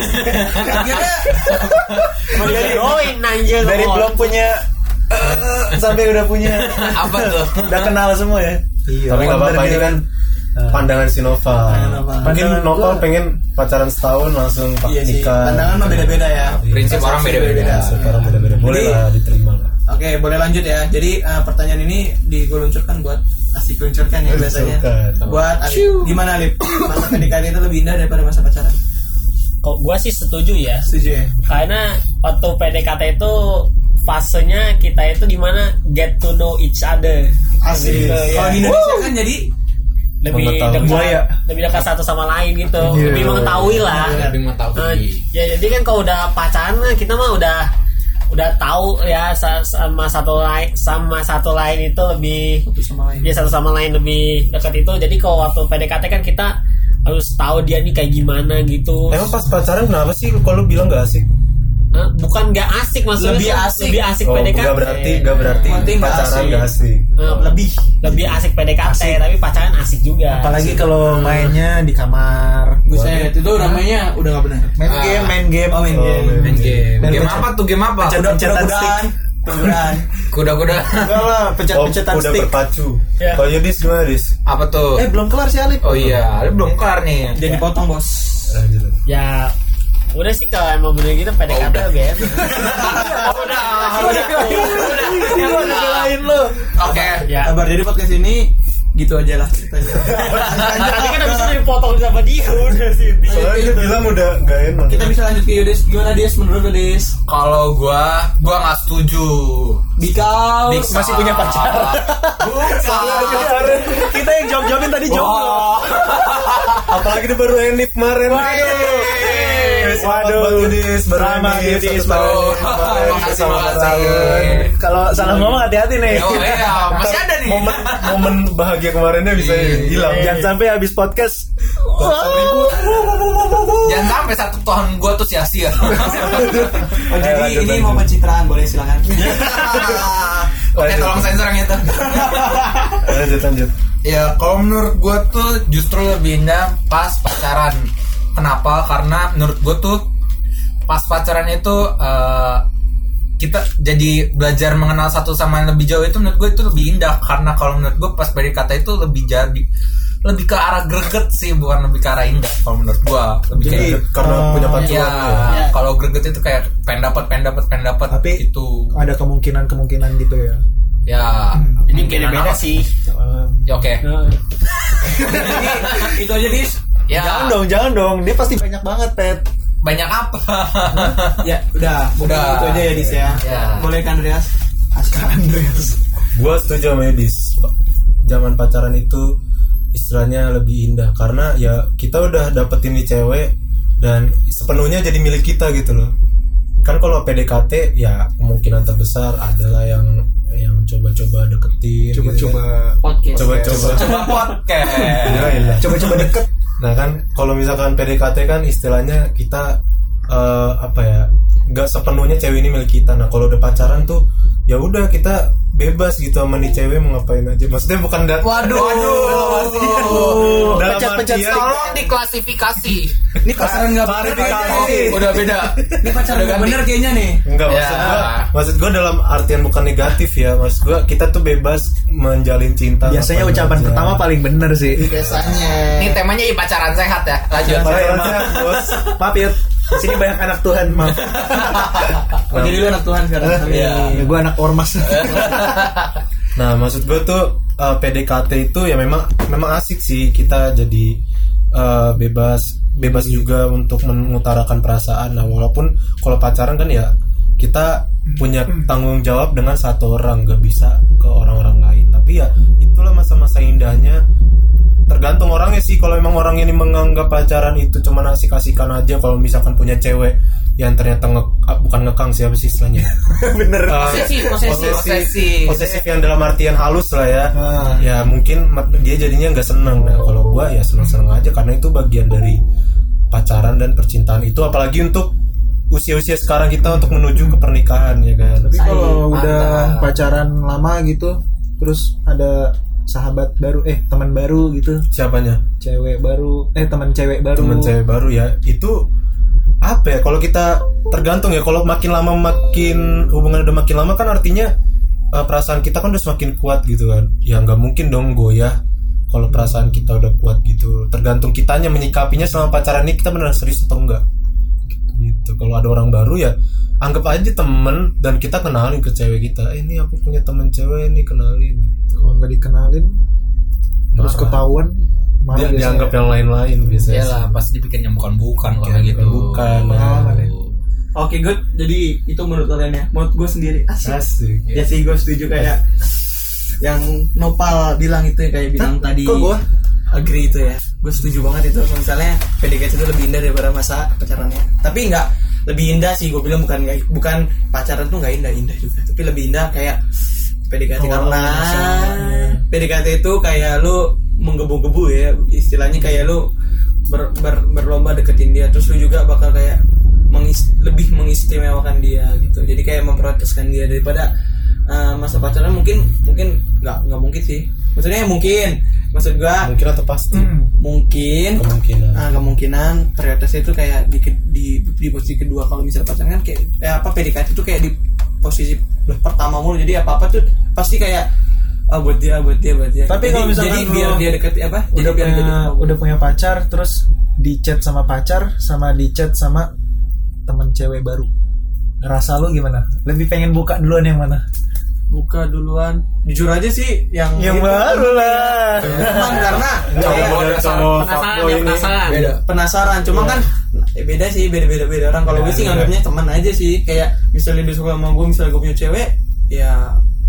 S1: Akhirnya
S4: Join anjir
S6: dari
S4: ngomong.
S6: belum punya sampai udah punya
S5: Apa tuh?
S6: udah kenal semua ya iya
S3: tapi nggak apa-apa ini kan pandangan si Nova
S1: Nova.
S6: Eh,
S3: mungkin
S6: Pandangan
S3: Nova
S6: gua-
S3: pengen pacaran setahun langsung pak
S1: iya sih. Iya,
S3: nikah Iya,
S1: Pandangan mah beda-beda ya.
S5: Prinsip orang beda-beda.
S3: sekarang beda-beda boleh
S1: Jadi-
S3: lah diterima lah
S1: Oke, boleh lanjut ya. Jadi eh, pertanyaan ini diguluncurkan buat asik luncurkan ya biasanya.
S3: Luncurkan.
S1: Buat Alip. Gimana Alip? Masa pernikahan itu lebih indah daripada masa pacaran.
S4: Kok gua sih setuju ya.
S1: Setuju ya?
S4: Karena waktu PDKT itu fasenya kita itu gimana get to know each other.
S1: Asik.
S4: Gitu, ya.
S1: Kalau di Indonesia kan jadi
S4: lebih
S3: Mengetahui.
S4: dekat,
S3: Buaya.
S4: lebih dekat satu sama lain gitu.
S3: Iya.
S4: Lebih mengetahui lah.
S5: Tapi mau tahu.
S4: Eh, ya jadi kan kalau udah pacaran lah, kita mah udah udah tahu ya sa- sama satu lain sama satu lain itu lebih
S1: satu sama lain.
S4: ya satu sama lain lebih dekat itu jadi kalau waktu PDKT kan kita harus tahu dia nih kayak gimana gitu
S3: emang pas pacaran kenapa sih kalau lu bilang gak asik
S4: Eh, bukan nggak asik maksudnya
S1: Lebih
S4: tuh
S1: asik.
S4: lebih asik
S3: oh
S4: PDKT
S3: nggak berarti nggak berarti
S1: Yang penting nggak
S3: pacaran
S1: asik.
S3: gak asik
S4: Eh,
S1: Lebih.
S4: lebih asik PDKT tapi pacaran asik juga
S6: apalagi kalau mainnya di kamar
S1: Buset, itu namanya udah gak benar.
S6: main game main game
S1: Oh, main game.
S3: Oh,
S5: Main game.
S6: Dan
S5: Game
S6: pecah-
S5: apa tuh? Game apa?
S6: pecah-
S1: Mudah-mudahan. Mudah-mudahan.
S5: Kuda-kuda.
S6: enggak lah
S3: Oh,
S6: pencet-pencetan
S3: udah
S6: stick
S3: berpacu
S4: Ya.
S3: kalau Yudis gimana Yudis
S5: Apa tuh?
S6: eh belum kelar sih Alif
S5: Oh iya, lu belum kelar nih.
S1: Jadi potong bos.
S3: Lanjut.
S4: ya udah sih kalau emang bener gitu PDKT
S5: udah.
S4: lebih enak
S5: Udah, udah, udah.
S6: lain lo
S5: Oke.
S4: ya
S1: Kabar dari podcast ini gitu aja lah ceritanya.
S4: nanti kan abis itu dipotong sama dia udah sih
S3: soalnya dia bilang udah gak enak
S1: Kita bisa lanjut ke Yudis. Gimana Dis menurut Yudis?
S5: Kalau gua, gua nggak setuju.
S1: Bikau
S5: Masih punya pacar. Bukan.
S6: kita yang jawab jawabin tadi jomblo
S5: Wah.
S3: apalagi dia baru enif kemarin Iya,
S6: Waduh.
S3: Waduh, Yudis, baru
S6: Selamat,
S3: Enif,
S6: Yudis,
S3: satu
S6: baru
S3: tahun
S5: Enif.
S3: kemarin,
S5: Makasih,
S3: selamat
S5: makasih.
S3: tahun.
S6: kalau salah ngomong hati-hati nih
S5: Oh iya, masih ada nih.
S3: momen momen bahagia kemarinnya bisa
S5: Iya.
S3: hilang
S6: jangan sampai habis podcast
S5: Jangan sampai satu tahun gua tuh sia-sia.
S1: Oh,
S3: Ayo,
S1: jadi
S3: lanjut,
S1: ini
S3: lanjut.
S1: mau pencitraan boleh silakan.
S5: Oke, tolong sensor yang itu.
S3: lanjut lanjut
S5: Ya, kalau menurut gue tuh justru lebih indah pas pacaran. Kenapa? Karena menurut gue tuh pas pacaran itu eh, kita jadi belajar mengenal satu sama yang lebih jauh itu menurut gue itu lebih indah karena kalau menurut gue pas PDKT itu lebih jadi lebih ke arah greget sih bukan lebih ke arah indah kalau menurut gue lebih
S3: jadi
S5: kayak
S3: Iya. karena punya
S5: ya,
S3: pacuan
S1: ya.
S5: kalau greget itu kayak pengen dapat pengen dapat pengen dapat
S6: Tapi-
S5: itu
S6: ada kemungkinan-kemungkinan gitu ya
S5: ya
S4: jadi
S5: mungkin
S4: Hmm, beda beda
S5: apa-
S4: sih
S5: ya oke
S1: Jadi itu aja Dis.
S5: ya
S6: jangan dong jangan dong dia pasti banyak banget pet
S5: banyak apa
S1: Ya udah, mungkin
S5: Udah.
S1: itu aja ya Dis ya.
S5: Ya.
S1: Boleh kan Andreas? Askar Andreas.
S3: gue setuju sama Yudis zaman pacaran itu istilahnya lebih indah karena ya kita udah dapetin nih cewek dan sepenuhnya jadi milik kita gitu loh kan kalau PDKT ya kemungkinan terbesar adalah yang yang coba-coba deketin coba-coba
S1: Podcast.
S3: coba-coba
S5: coba podcast
S3: coba-coba deket Iya, nah kan kalau misalkan PDKT kan istilahnya kita eh, apa ya nggak sepenuhnya cewek ini milik kita nah kalau udah pacaran tuh ya udah kita bebas gitu sama nih cewek mau ngapain aja maksudnya bukan da-
S5: Waduh,
S3: dalam
S6: Pencet-pencet
S3: artian-
S5: tolong diklasifikasi.
S1: Ini pacaran enggak bener.
S5: Oh,
S1: kayaknya, Dis.
S5: udah beda.
S1: Ini pacaran
S5: Udah
S1: enggak
S5: ganti.
S1: bener kayaknya nih.
S3: Enggak
S5: Ya.
S3: maksud gua, maksud gua dalam artian bukan negatif ya. Maksud gua kita tuh bebas menjalin cinta.
S6: biasanya
S3: ngapain
S6: ucapan
S3: aja.
S6: pertama paling bener sih
S1: Biasanya.
S5: Ini temanya i pacaran sehat ya. Lanjut.
S6: iya,
S3: Baik, aja, bos.
S6: maaf ya di sini banyak anak Tuhan maaf
S1: Oh, jadi lu anak Tuhan sekarang. Amin. Eh,
S5: Iya.
S6: ya, gue anak ormas
S3: Nah, maksud gue tuh eh, PDKT itu ya memang memang asik sih kita jadi eh, bebas bebas juga untuk mengutarakan perasaan. Nah, walaupun kalau pacaran kan ya kita punya tanggung jawab dengan satu orang gak bisa ke orang-orang lain tapi ya itulah masa-masa indahnya tergantung orangnya sih kalau emang orang ini menganggap pacaran itu cuma asik-asikan aja kalau misalkan punya cewek yang ternyata nge, ah, bukan ngekang siapa sih istilahnya bener
S1: Posesif, posesif.
S5: Posesif.
S3: posesif yang dalam artian halus lah ya ya mungkin ma- dia jadinya nggak seneng nah kalau gua ya seneng seneng aja karena itu bagian dari pacaran dan percintaan itu apalagi untuk usia-usia sekarang kita untuk menuju ke pernikahan ya kan
S6: Tapi kalau
S5: Mantap.
S6: udah pacaran lama gitu, terus ada sahabat baru, eh teman baru gitu,
S3: siapanya
S6: cewek baru, eh teman cewek baru.
S3: teman cewek baru ya itu apa ya kalau kita tergantung ya kalau makin lama makin hubungan udah makin lama kan artinya eh, perasaan kita kan udah semakin kuat gitu kan ya nggak mungkin dong goyah kalau perasaan kita udah kuat gitu tergantung kitanya menyikapinya selama pacaran ini kita benar serius atau enggak gitu kalau ada orang baru ya anggap aja temen dan kita kenalin ke cewek kita "Eh, ini aku punya temen cewek ini kenalin
S6: Kalau nggak dikenalin, terus
S3: Marah.
S6: ketahuan, marah
S3: dia
S6: biasanya.
S3: dianggap yang lain-lain biasanya
S5: Iyalah, pasti dipikirnya bukan-bukan kalau kayak gitu.
S3: Bukan.
S5: ya.
S1: Oke good, jadi itu menurut kalian ya Menurut gue sendiri asik
S3: Asik.
S7: Iya.
S1: Ya sih gue setuju kayak Yang Nopal bilang itu ya Kayak bilang tadi
S7: kok gua?
S1: Agree itu ya Gue setuju banget itu Kalau Misalnya PDKT itu lebih indah daripada masa pacarannya Tapi nggak lebih indah sih gue bilang bukan nggak- bukan pacaran tuh nggak indah indah juga tapi lebih indah kayak PDKT karena PDKT itu kayak lu menggebu-gebu ya istilahnya kayak lu ber- ber- berlomba deketin dia terus lu juga bakal kayak mengis- lebih mengistimewakan dia gitu jadi kayak memprioritaskan dia daripada eh, masa pacaran mungkin mungkin nggak nggak mungkin sih maksudnya mungkin maksud gua
S3: mungkin atau pasti
S6: Hmm.
S1: mungkin
S3: kemungkinan
S1: Nah, kemungkinan prioritasnya itu kayak di, di, di posisi kedua kalau misalnya pacaran kan kayak eh, apa PDKT itu kayak di posisi pertama mulu jadi apa apa tuh pasti kayak ah, buat dia buat dia buat dia
S6: Tapi
S1: Jadi-
S6: kalau misalkan
S1: jadi
S6: lu
S1: biar dia deket apa jadi
S6: udah
S1: biar
S6: punya,
S1: dia deket.
S6: udah punya pacar, terus di chat sama pacar, sama di chat sama teman cewek baru. Rasa lu gimana? Lebih pengen buka duluan yang mana?
S1: buka duluan jujur aja sih yang
S6: Gitu.
S1: itu.
S6: lah.
S1: Cuman karena kayak
S3: Cowok dan cowok
S4: penasaran,
S3: fuckboy
S4: ya,
S3: ini.
S4: penasaran.
S1: penasaran cuma kan eh, beda sih beda beda beda orang kalau gue sih nganggapnya teman aja sih kayak misalnya dia suka sama gue misalnya gue punya cewek ya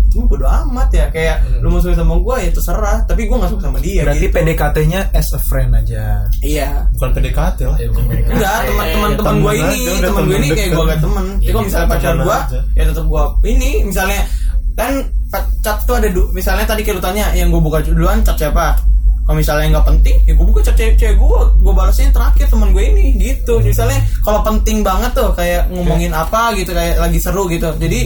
S1: itu mah bodo amat ya kayak lu mau suka sama gue ya terserah tapi gue gak suka sama dia
S6: Berarti
S1: gitu.
S6: PDKT-nya as a friend aja.
S1: iya
S3: bukan PDKT lah ya.
S1: enggak teman teman teman gue
S3: temen
S1: ini
S3: Iya, aja, udah
S1: teman gue ini
S3: temen
S1: kayak
S3: deket.
S1: gue gak temen jadi kalau misalnya
S3: temen
S1: pacar gue
S3: aja.
S1: ya tetap gue ini misalnya kan pa- chat tuh ada du- misalnya tadi kayak lu tanya yang gue buka duluan chat siapa kalau misalnya nggak penting ya gue buka chat cewek cewek gue gue balasin terakhir teman gue ini gitu
S3: Iya.
S1: misalnya kalau penting banget tuh kayak ngomongin apa gitu kayak lagi seru gitu jadi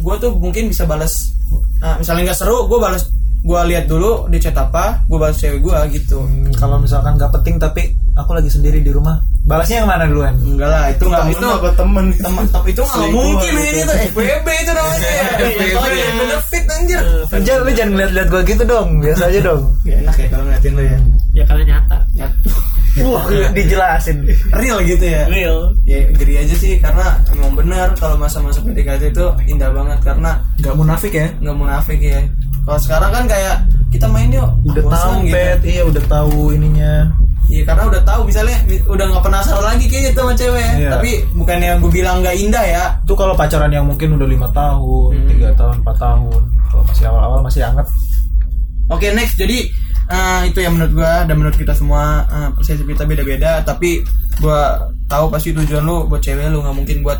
S1: gue tuh mungkin bisa balas nah, misalnya nggak seru gue balas gue lihat dulu di chat apa gue balas cewek gue gitu
S6: Hmm, kalau misalkan nggak penting tapi aku lagi sendiri di rumah, balasnya yang mana duluan?
S1: enggak lah itu nggak
S3: temen
S1: itu
S3: apa temen
S1: teman tapi itu nggak
S3: Selingkuh
S1: mungkin
S6: gitu.
S3: itu.
S1: ini tuh FBB itu namanya ya
S5: FBB.
S1: benefit anjir
S6: Anjir, lu jangan ngeliat-liat gua gitu dong, biasa aja dong.
S1: Gak enak ya kalau ngeliatin lo ya
S4: ya karena nyata
S6: Wah, dijelasin.
S1: real gitu ya
S4: real
S1: ya geri aja sih karena emang benar kalau masa-masa PDKT itu indah banget karena
S6: Gak munafik ya?
S1: nggak munafik ya kalau sekarang kan kayak kita main yuk ah,
S6: Udah
S1: bosan
S6: tahu
S1: gitu.
S6: pet, iya udah tahu ininya.
S1: Iya karena udah tahu misalnya udah nggak penasaran lagi kayaknya sama cewek ya.
S6: Iya.
S1: tapi bukannya gue bilang nggak indah ya
S6: Itu kalau pacaran yang mungkin udah lima tahun,
S1: Hmm.
S6: tiga tahun, empat tahun. Kalau masih awal-awal masih anget.
S1: Oke next jadi eh, itu yang menurut gua dan menurut kita semua eh, persepsi kita beda-beda tapi gua tahu pasti tujuan lu buat cewek lu nggak mungkin buat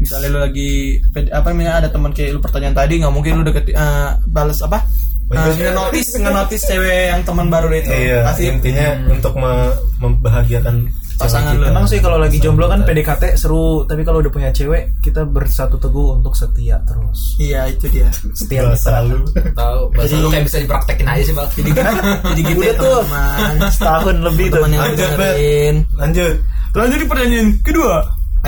S1: misalnya lu lagi apa namanya ada teman kayak lu pertanyaan tadi nggak mungkin lu deket eh, balas apa
S6: Oh, iya,
S1: Eh, ngenotis ngenotis cewek yang teman baru itu
S3: iya
S1: pasti
S3: intinya untuk me- membahagiakan
S1: pasangan lu
S6: Emang sih kalau lagi jomblo kan PDKT seru, tapi kalau udah punya cewek, kita bersatu teguh untuk setia terus.
S1: iya itu dia
S6: Setia
S3: cewek
S6: mitra.
S3: selalu
S5: Tahu, bahasa lu kayak bisa dipraktekin aja sih, Bang. Jadi
S1: jadi gitu ya
S6: Udah tuh.
S1: teman
S6: Setahun lebih tuh.
S1: teman yang
S3: Lanjut, Bet.
S1: dengerin
S3: lanjut
S1: Lanjut di pertanyaan kedua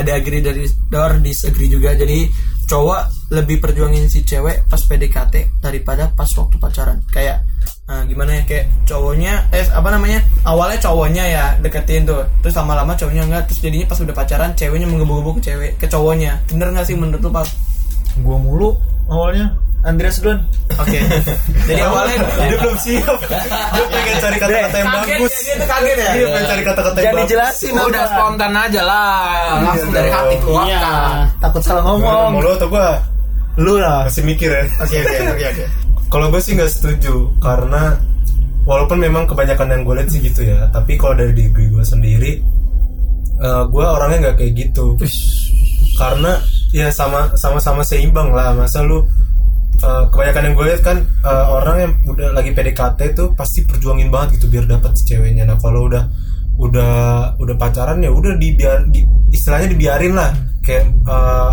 S1: Ada agree dari Dor, disagree juga Jadi cowok lebih perjuangin si cewek pas PDKT Daripada pas waktu pacaran Kayak eh, gimana ya kayak cowoknya eh apa namanya awalnya cowoknya ya deketin tuh terus lama-lama cowoknya enggak terus jadinya pas udah pacaran ceweknya menggebu-gebu ke cewek ke cowoknya bener nggak sih menurut lu pas
S6: Gua mulu awalnya. Andreas duluan.
S1: oke jadi awalnya
S3: dia belum siap dia pengen cari kata-kata yang bagus.
S1: ya, dia tuh kaget ya.
S3: Iya, pengen cari kata-kata yang
S6: Jadi
S3: bagus.
S6: jelasin
S5: Udah
S6: apa?
S5: spontan aja lah, langsung
S3: Iya
S5: dari
S3: dong.
S5: hati keluar.
S4: Iya.
S6: Takut salah
S3: Mau
S6: ngomong.
S3: lu atau gua?
S6: Lu lah.
S3: Masih mikir ya.
S2: Oke oke oke oke.
S3: Kalau gue sih nggak setuju karena walaupun memang kebanyakan yang gue lihat sih gitu ya, tapi kalau dari diri gue sendiri, eh, gue orangnya nggak kayak gitu. Karena ya sama sama sama seimbang lah. Masa lu eh, kebanyakan yang gue lihat kan eh, orang yang udah lagi PDKT tuh pasti perjuangin banget gitu biar dapat si ceweknya. Nah kalau udah udah udah pacaran ya udah dibiar di- istilahnya dibiarin lah kayak eh,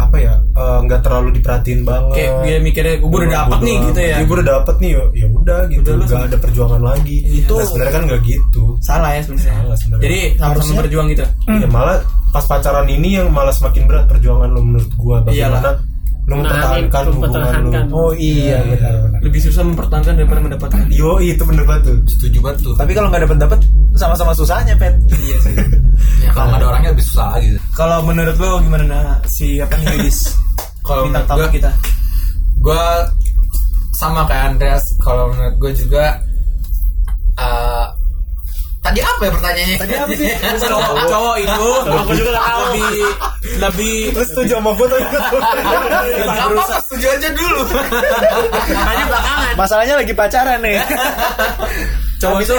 S3: apa ya eh, nggak terlalu diperhatiin banget
S1: Kayak ya, dia mikirnya gue udah dapet nih gitu ya.
S3: gue udah dapet nih ya- ya udah gitu
S1: Udah lah,
S3: nggak ada perjuangan lagi itu nah, sebenarnya kan nggak gitu
S1: Salah ya sebenarnya.
S3: Salah sebenarnya.
S1: Jadi sama-sama berjuang gitu.
S3: ya malah pas pacaran ini yang malah semakin berat perjuangan lo menurut gue bagaimana
S1: Iyalah.
S3: lo mempertahankan hubungan
S4: Nah,
S3: lo
S4: mempertahankan.
S3: oh iya benar benar
S1: Lebih susah mempertahankan daripada mendapatkan.
S3: yo itu bener banget tuh
S5: Setuju banget tuh.
S6: Tapi kalau nggak dapat dapat sama-sama susahnya, Pet.
S5: Ya, kalau nggak ada orangnya lebih susah lagi.
S1: Kalau menurut lo gimana nah si apa nih ladies?
S5: Kalau
S1: Bintang
S5: menurut
S1: tamu
S5: gua-
S1: kita.
S5: gue sama kayak Andreas kalau menurut gue juga eh, tadi apa ya pertanyaannya tadi
S6: Iya
S5: apa sih
S1: Eh, Cowok, cowok itu
S4: Aku juga nggak tahu.
S1: lebih lebih
S3: terus setuju sama gue tuh
S5: apa setuju aja dulu
S4: Tanya belakangan.
S6: Masalahnya lagi pacaran nih.
S1: cowok itu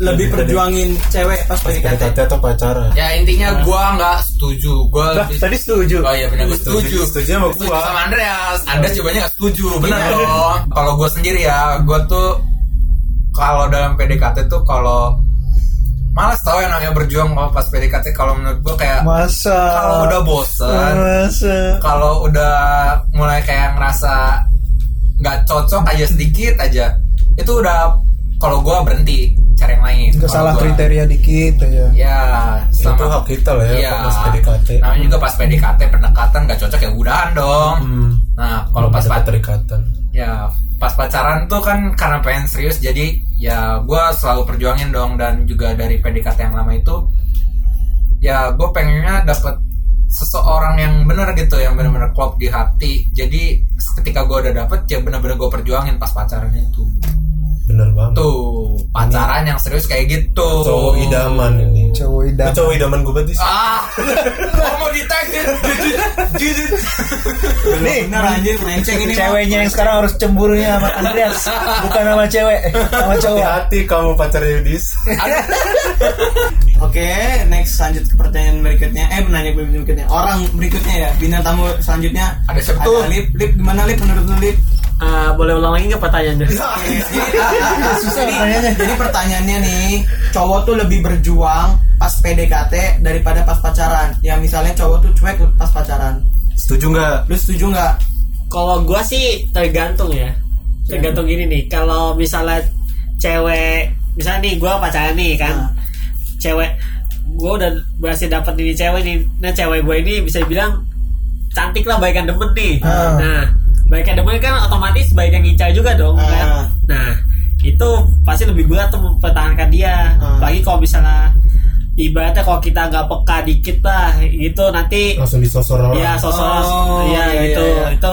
S1: lebih perjuangin cewek pas PDKT.
S3: PDKT atau pacaran
S5: ya intinya gue nggak setuju gue
S6: Lah, tadi setuju.
S5: Oh iya benar gue
S3: Setuju.
S5: setuju.
S3: Setuju sama gua.
S5: Setuju sama Andreas. Anda cobanya gak setuju. Benar dong. Kalau gue sendiri ya, gue tuh kalau dalam PDKT tuh kalau malas tau yang namanya berjuang kalau pas PDKT kalau menurut gue kayak
S6: Masa.
S5: kalau udah
S6: kan?
S5: bosen,
S6: Masa.
S5: kalau udah mulai kayak ngerasa nggak cocok aja sedikit aja, itu udah kalau gue berhenti cari yang lain.
S6: Nggak
S5: Kalau
S6: salah
S5: gua-
S6: kriteria dikit ya.
S5: Ya,
S3: itu hak kita lah ya
S5: Iya.
S3: pas PDKT
S5: Namanya juga pas PDKT pendekatan nggak cocok ya udahan dong.
S3: Hmm.
S5: Nah, kalau pas
S3: Ada
S5: pacaran
S3: pendekatan
S5: ya pas pacaran tuh kan karena pengen serius jadi ya gue selalu perjuangin dong dan juga dari PDKT yang lama itu ya gue pengennya dapet seseorang yang bener gitu yang bener-bener klop di hati jadi ketika gue udah dapet ya bener-bener gue perjuangin pas pacaran itu
S3: bener banget
S5: tuh pacaran yang serius kayak gitu
S3: cowok idaman ini
S6: Cowok
S3: Lu
S6: idaman.
S3: cowok idaman gue berarti sih.
S5: ah kok mau ditagih
S6: Nih,
S1: Bener anjir melenceng ini.
S6: ceweknya yang sekarang harus cemburunya sama Andreas bukan sama cewek sama cowok
S3: hati kamu pacarnya Yudis
S1: Oke, next lanjut ke pertanyaan berikutnya. Eh, menanya berikutnya. Orang berikutnya ya, bintang tamu selanjutnya.
S5: Ada siapa tuh?
S1: Lip, Lip gimana Lip menurut lu Lip?
S4: Eh, boleh ulang lagi nggak pertanyaannya?
S1: Oke, jadi- Susah pertanyaannya. Jadi pertanyaannya nih, cowok tuh lebih berjuang pas PDKT daripada pas pacaran. Ya misalnya cowok tuh cuek pas pacaran.
S3: setuju nggak
S1: Lu setuju nggak?
S4: Kalau gua sih tergantung ya. Tergantung gini nih. Kalau misalnya cewek, misalnya nih gua pacaran nih kan,
S1: Ah.
S4: cewek, gua udah berhasil dapet ini cewek nih. Nah cewek gue ini bisa dibilang cantik lah, baikan demen nih.
S1: Ah.
S4: Nah, baikan demen kan otomatis baikan ngincar juga dong.
S1: Ah.
S4: Kan? Nah itu pasti lebih berat tuh mempertahankan dia.
S1: Ah.
S4: Apalagi kalau misalnya ibaratnya kalau kita nggak peka dikit lah gitu nanti
S3: langsung disosor orang
S4: Iya, sosok
S1: Oh,
S4: iya
S1: iya,
S4: gitu.
S1: iya, iya.
S4: Itu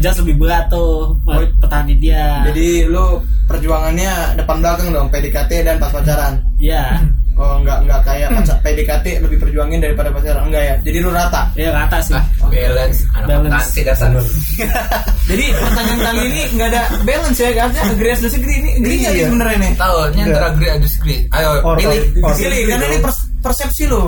S4: jelas lebih berat tuh petani dia.
S1: Jadi lu perjuangannya depan belakang dong PDKT dan pas pacaran.
S4: iya.
S1: Oh, nggak nggak kayak pacar- PDKT lebih perjuangin daripada pacaran enggak ya? Jadi lu rata.
S4: Iya rata sih.
S5: ah, balance anak kan,
S4: Balance.
S5: akuntansi dasar
S1: Jadi pertanyaan kali ini nggak ada balance ya, harusnya agree atau disagree ini agree nggak sih
S6: Iya.
S1: sebenarnya nih?
S5: tahu ini antara agree atau disagree ayo
S6: Or-
S5: pilih kan,
S6: or-
S1: Agree, karena ini pers- persepsi lo.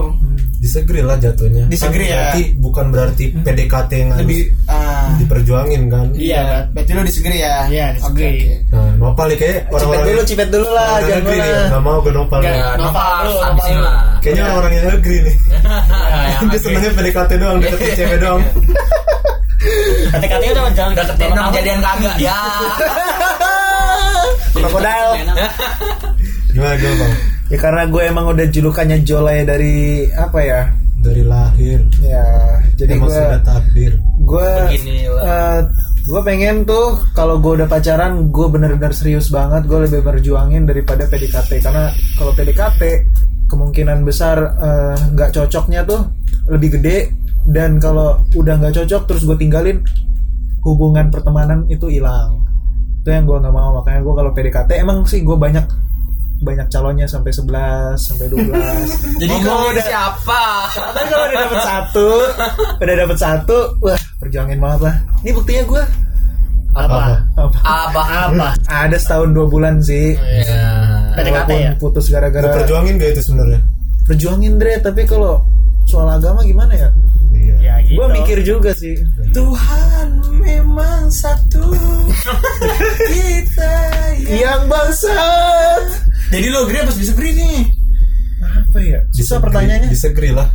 S3: disagree lah jatuhnya
S1: Disagree
S3: Kan
S1: ya.
S3: berarti bukan berarti PDKT yang harus
S1: Lebih ah,
S3: diperjuangin kan
S4: Iya.
S1: berarti lu disagree ya?
S4: Iya,
S1: Oke,
S4: disagree.
S1: oke.
S3: nah nopal nih kayak
S6: cipet
S3: orang-orang
S6: dulu cipet dulu lah
S3: orang
S6: jangan
S3: negeri nih
S6: lah.
S3: nggak mau gue nopal
S4: Nggak.
S5: Ya,
S4: Nova,
S5: nopal,
S4: lu,
S5: habisin
S4: Nova, lu.
S5: lah.
S3: kayaknya orang-orang yang negeri nih
S5: Yang
S3: dia
S5: asli.
S3: senangnya PDKT doang deketin cewek doang
S4: PTKT udah jalan
S5: Udah ketemu kejadian kagak ya.
S6: Krokodil.
S3: gimana gue bang
S6: ya karena gue emang udah julukannya Jolay dari apa ya
S3: dari lahir
S6: ya jadi
S3: emang
S6: gue
S3: sudah takdir
S6: gue
S5: Beginilah.
S6: eh, gue pengen tuh kalau gue udah pacaran gue bener-bener serius banget gue lebih berjuangin daripada PDKT karena kalau PDKT kemungkinan besar eh, nggak cocoknya tuh lebih gede dan kalau udah nggak cocok terus gue tinggalin hubungan pertemanan itu hilang itu yang gue nggak mau makanya gue kalau PDKT emang sih gue banyak banyak calonnya sampai 11 sampai 12
S5: Jadi
S6: kalau udah-
S5: siapa?
S6: kan kalau udah dapet satu udah dapet satu wah perjuangin banget lah ini buktinya gue
S4: apa
S6: apa
S5: Apa?
S4: apa
S6: ada setahun dua bulan sih
S5: Iya.
S4: PDKT
S6: walaupun
S4: ya
S6: putus gara-gara
S3: Lu perjuangin gak itu sebenarnya?
S6: perjuangin Dre tapi kalau soal agama gimana ya
S5: Nah,
S3: Iya.
S4: ya gitu
S6: gue mikir juga sih
S1: Tuhan memang satu kita
S6: yang bangsat
S1: jadi lo agree apa disagree nih
S6: apa ya susah pertanyaannya
S3: Disagree lah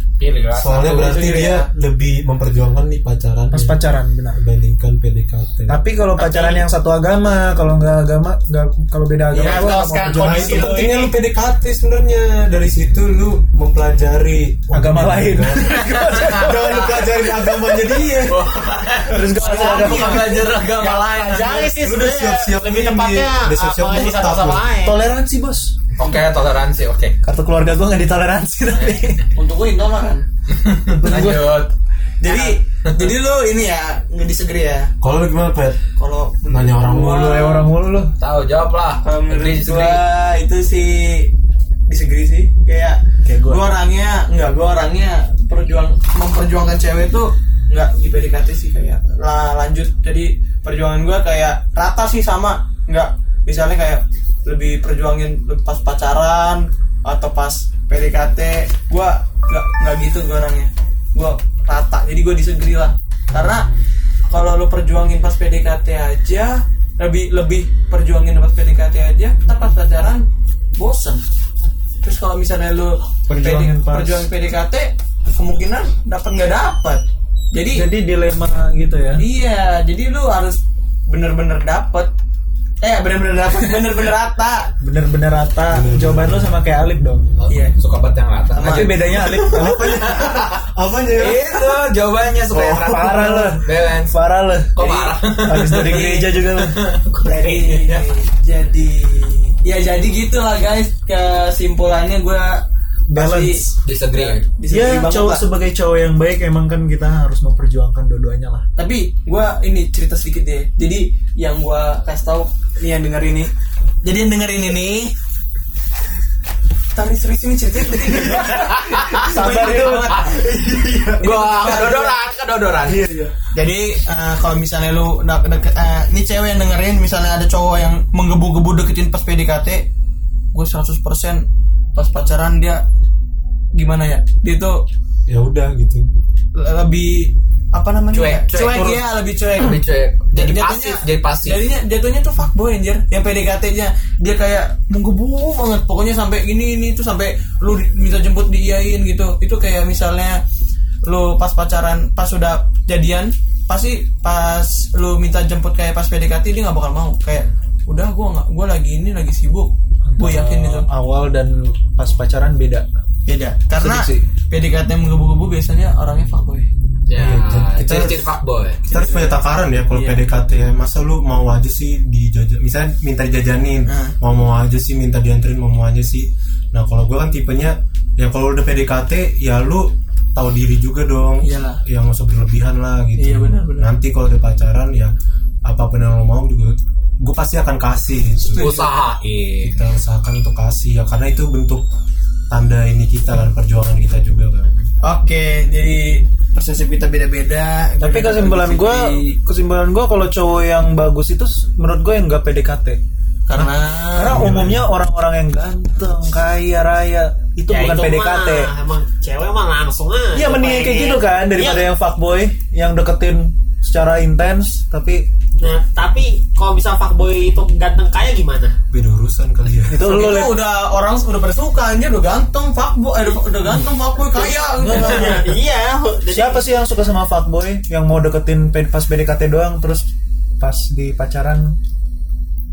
S3: Soalnya berarti dia lebih memperjuangkan nih pacaran
S6: pas pacaran benar
S3: Dibandingkan PDKT
S6: tapi kalau pacaran yang satu agama kalau nggak agama nggak kalau beda agama gua
S5: Ya, kalau
S6: nggak mau
S5: sekarang
S6: perjuangin.
S3: Nah itu
S5: Kondisi lu
S3: pentingnya lu PDKT sebenarnya Dari situ lu mempelajari
S6: Agama
S3: Oh,
S6: lain.
S3: agama. Jangan lu pelajarin agamanya dia
S6: terus kan. gue
S5: Bukan belajar agama lain.
S4: pelajari sih
S3: Lu udah siap-siap
S4: lebih
S3: ini,
S4: tepatnya
S3: udah siap-siap
S4: apalagi
S3: mutaf
S4: satu sama
S3: lu.
S4: lain
S6: toleransi bos
S5: Oke, toleransi. Oke.
S6: kartu keluarga gue nggak ditoleransi tapi
S1: untuk gue intoleran
S5: Lanjut.
S1: jadi jadi lo ini ya nggak disagree ya
S3: Kalau lu gimana Pet?
S1: kalau
S3: Nanya orang mulu
S6: mulu ya orang mulu lu
S5: Tahu jawab lah.
S1: Kalau menurut
S5: Agree,
S1: gua
S5: disagree.
S1: itu sih disagree sih kayak gua. orangnya nggak gua orangnya perjuang memperjuangkan cewek tuh nggak di PDKT sih kayak lah lanjut jadi perjuangan gua kayak rata sih sama nggak misalnya kayak lebih perjuangin pas pacaran atau pas PDKT gua nggak nggak gitu gua orangnya gua rata jadi gua disagree lah karena kalau lo perjuangin pas PDKT aja lebih lebih perjuangin pas PDKT aja kita pas pacaran bosen terus kalau misalnya lo
S6: Perjuangin pas-
S1: perjuangin PDKT kemungkinan dapat nggak dapat jadi,
S6: jadi dilema gitu ya
S1: iya jadi lo harus bener-bener dapat eh bener-bener dapat bener-bener rata
S6: bener-bener rata jawaban lu sama kayak Alif dong
S1: iya
S5: Suka banget yang rata.
S6: tapi bedanya Alif
S3: Apanya ya?
S5: Itu jawabannya suka yang rata.
S6: parah lu
S5: Balance.
S6: parah lu
S5: Kok marah?
S6: habis dari gereja juga lu
S1: jadi jadi ya jadi gitulah guys kesimpulannya gue
S6: balance
S1: Iya,
S5: Disagree.
S6: Ya
S1: lah.
S6: cowok sebagai cowok yang baik emang kan kita harus memperjuangkan dua-duanya lah.
S1: tapi gue ini cerita sedikit deh jadi yang gue kasih tahu nih yang denger ini jadi yang dengerin ini Tari serius ini cerita
S6: Sabar
S1: ya.
S6: itu.
S5: Gua kedodoran, kedodoran.
S1: Jadi eh, kalau misalnya lu dek- dek- eh, ini cewek yang dengerin misalnya ada cowok yang menggebu-gebu deketin pas PDKT, gue 100% pas pacaran dia gimana ya? Dia tuh
S3: Ya udah gitu
S1: lebih apa namanya?
S5: Cuek,
S1: ya?
S5: cuek,
S1: cuek,
S5: turun.
S1: ya, lebih cuek.
S5: Lebih cuek. Jadi
S1: Jatuhnya-
S5: pasif, jadi pasif.
S1: Jadinya Iya. jatuhnya tuh fuckboy anjir. Yang PDKT-nya dia kayak menggebu banget. Pokoknya sampai ini ini itu sampai lu di- minta jemput diiyain gitu. Itu kayak misalnya lu pas pacaran, pas sudah jadian, pasti pas lu minta jemput kayak pas PDKT dia nggak bakal mau. Kayak udah gua nggak gua lagi ini lagi sibuk. Gue yakin gitu. itu
S3: Eh.
S6: Awal dan pas pacaran beda.
S1: beda karena
S6: Sedih sih.
S1: PDKT yang menggebu-gebu biasanya orangnya fuckboy.
S5: Ya, itu ciri fuckboy.
S3: kita harus punya takaran
S1: Iya.
S3: ya kalau PDKT ya masa lu mau aja sih dijajan misalnya minta dijajanin
S1: Hmm.
S3: mau mau aja sih minta dianterin mau mau aja sih nah kalau gue kan tipenya ya kalau udah PDKT ya lu tahu diri juga dong
S1: Iyalah.
S3: ya nggak usah berlebihan lah gitu
S1: Iya, benar, benar.
S3: nanti kalau udah pacaran ya apapun yang lo mau juga gue pasti akan kasih gitu.
S5: Usahain.
S3: kita usahakan untuk kasih ya karena itu bentuk tanda ini kita kan perjuangan kita juga kan
S1: Oke, jadi persepsi kita beda-beda.
S6: Tapi
S4: Iya,
S6: kesimpulan gue, kesimpulan gue kalau cowok yang bagus itu s- menurut gue yang gak PDKT.
S1: karena
S6: Karena umumnya orang-orang yang ganteng, kaya raya itu
S4: Ya,
S6: bukan
S4: itu
S6: PDKT.
S4: mah, emang cewek mah langsung aja
S6: Iya mendingan kayak gitu kan daripada
S4: Iya.
S6: yang fuckboy yang deketin secara intens tapi
S4: nah, tapi kalau bisa fuckboy itu ganteng kaya gimana
S3: beda urusan kali ya
S6: itu lu
S1: itu
S6: liat
S1: udah orang udah pada suka anjir udah ganteng fuckboy eh, udah- udah ganteng fuckboy kaya gitu.
S4: iya jadi
S6: Siapa sih yang suka sama fuckboy yang mau deketin pe- pas PDKT doang terus pas di pacaran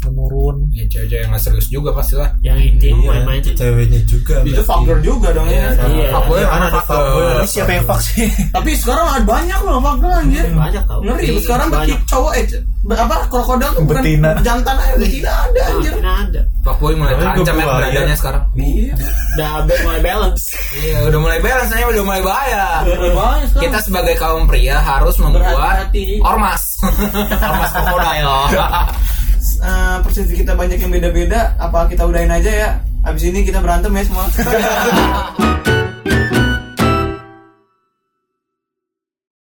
S6: menurun.
S5: Ya cewek-cewek yang nggak serius juga pastilah.
S4: yang intim
S3: Iya,
S4: main-main aja.
S3: ceweknya juga
S1: itu faktor juga dong ya
S4: Iya.
S5: Fuckboy
S3: Iya,
S5: mana
S3: ada
S5: fuckboy?
S3: fuckboy, ada
S4: Eh,
S6: Ini siapa yang fuck sih?
S1: tapi sekarang ada banyak loh faktor anjir
S4: banyak tau
S1: ngeri
S4: Iya,
S1: sekarang
S4: banyak
S1: banyak cowok eh c- apa krokodil tuh bukan
S6: Betina.
S1: jantan aja betina ada anjir
S4: Nah, ada
S5: Fuckboy mulai
S3: Tapi
S5: terancam ya
S3: gua
S5: berandanya
S3: lihat.
S5: sekarang.
S3: Iya.
S4: udah be- mulai balance
S5: Iya, udah mulai balance aja, udah mulai bahaya.
S1: Ada banyak sekarang.
S5: Kita sebagai kaum pria harus membuat
S1: Berhati-hati.
S5: ormas. ormas krokodil.
S1: Eh, persepsi kita banyak yang beda-beda apa kita udahin aja ya Abis ini kita berantem ya semua.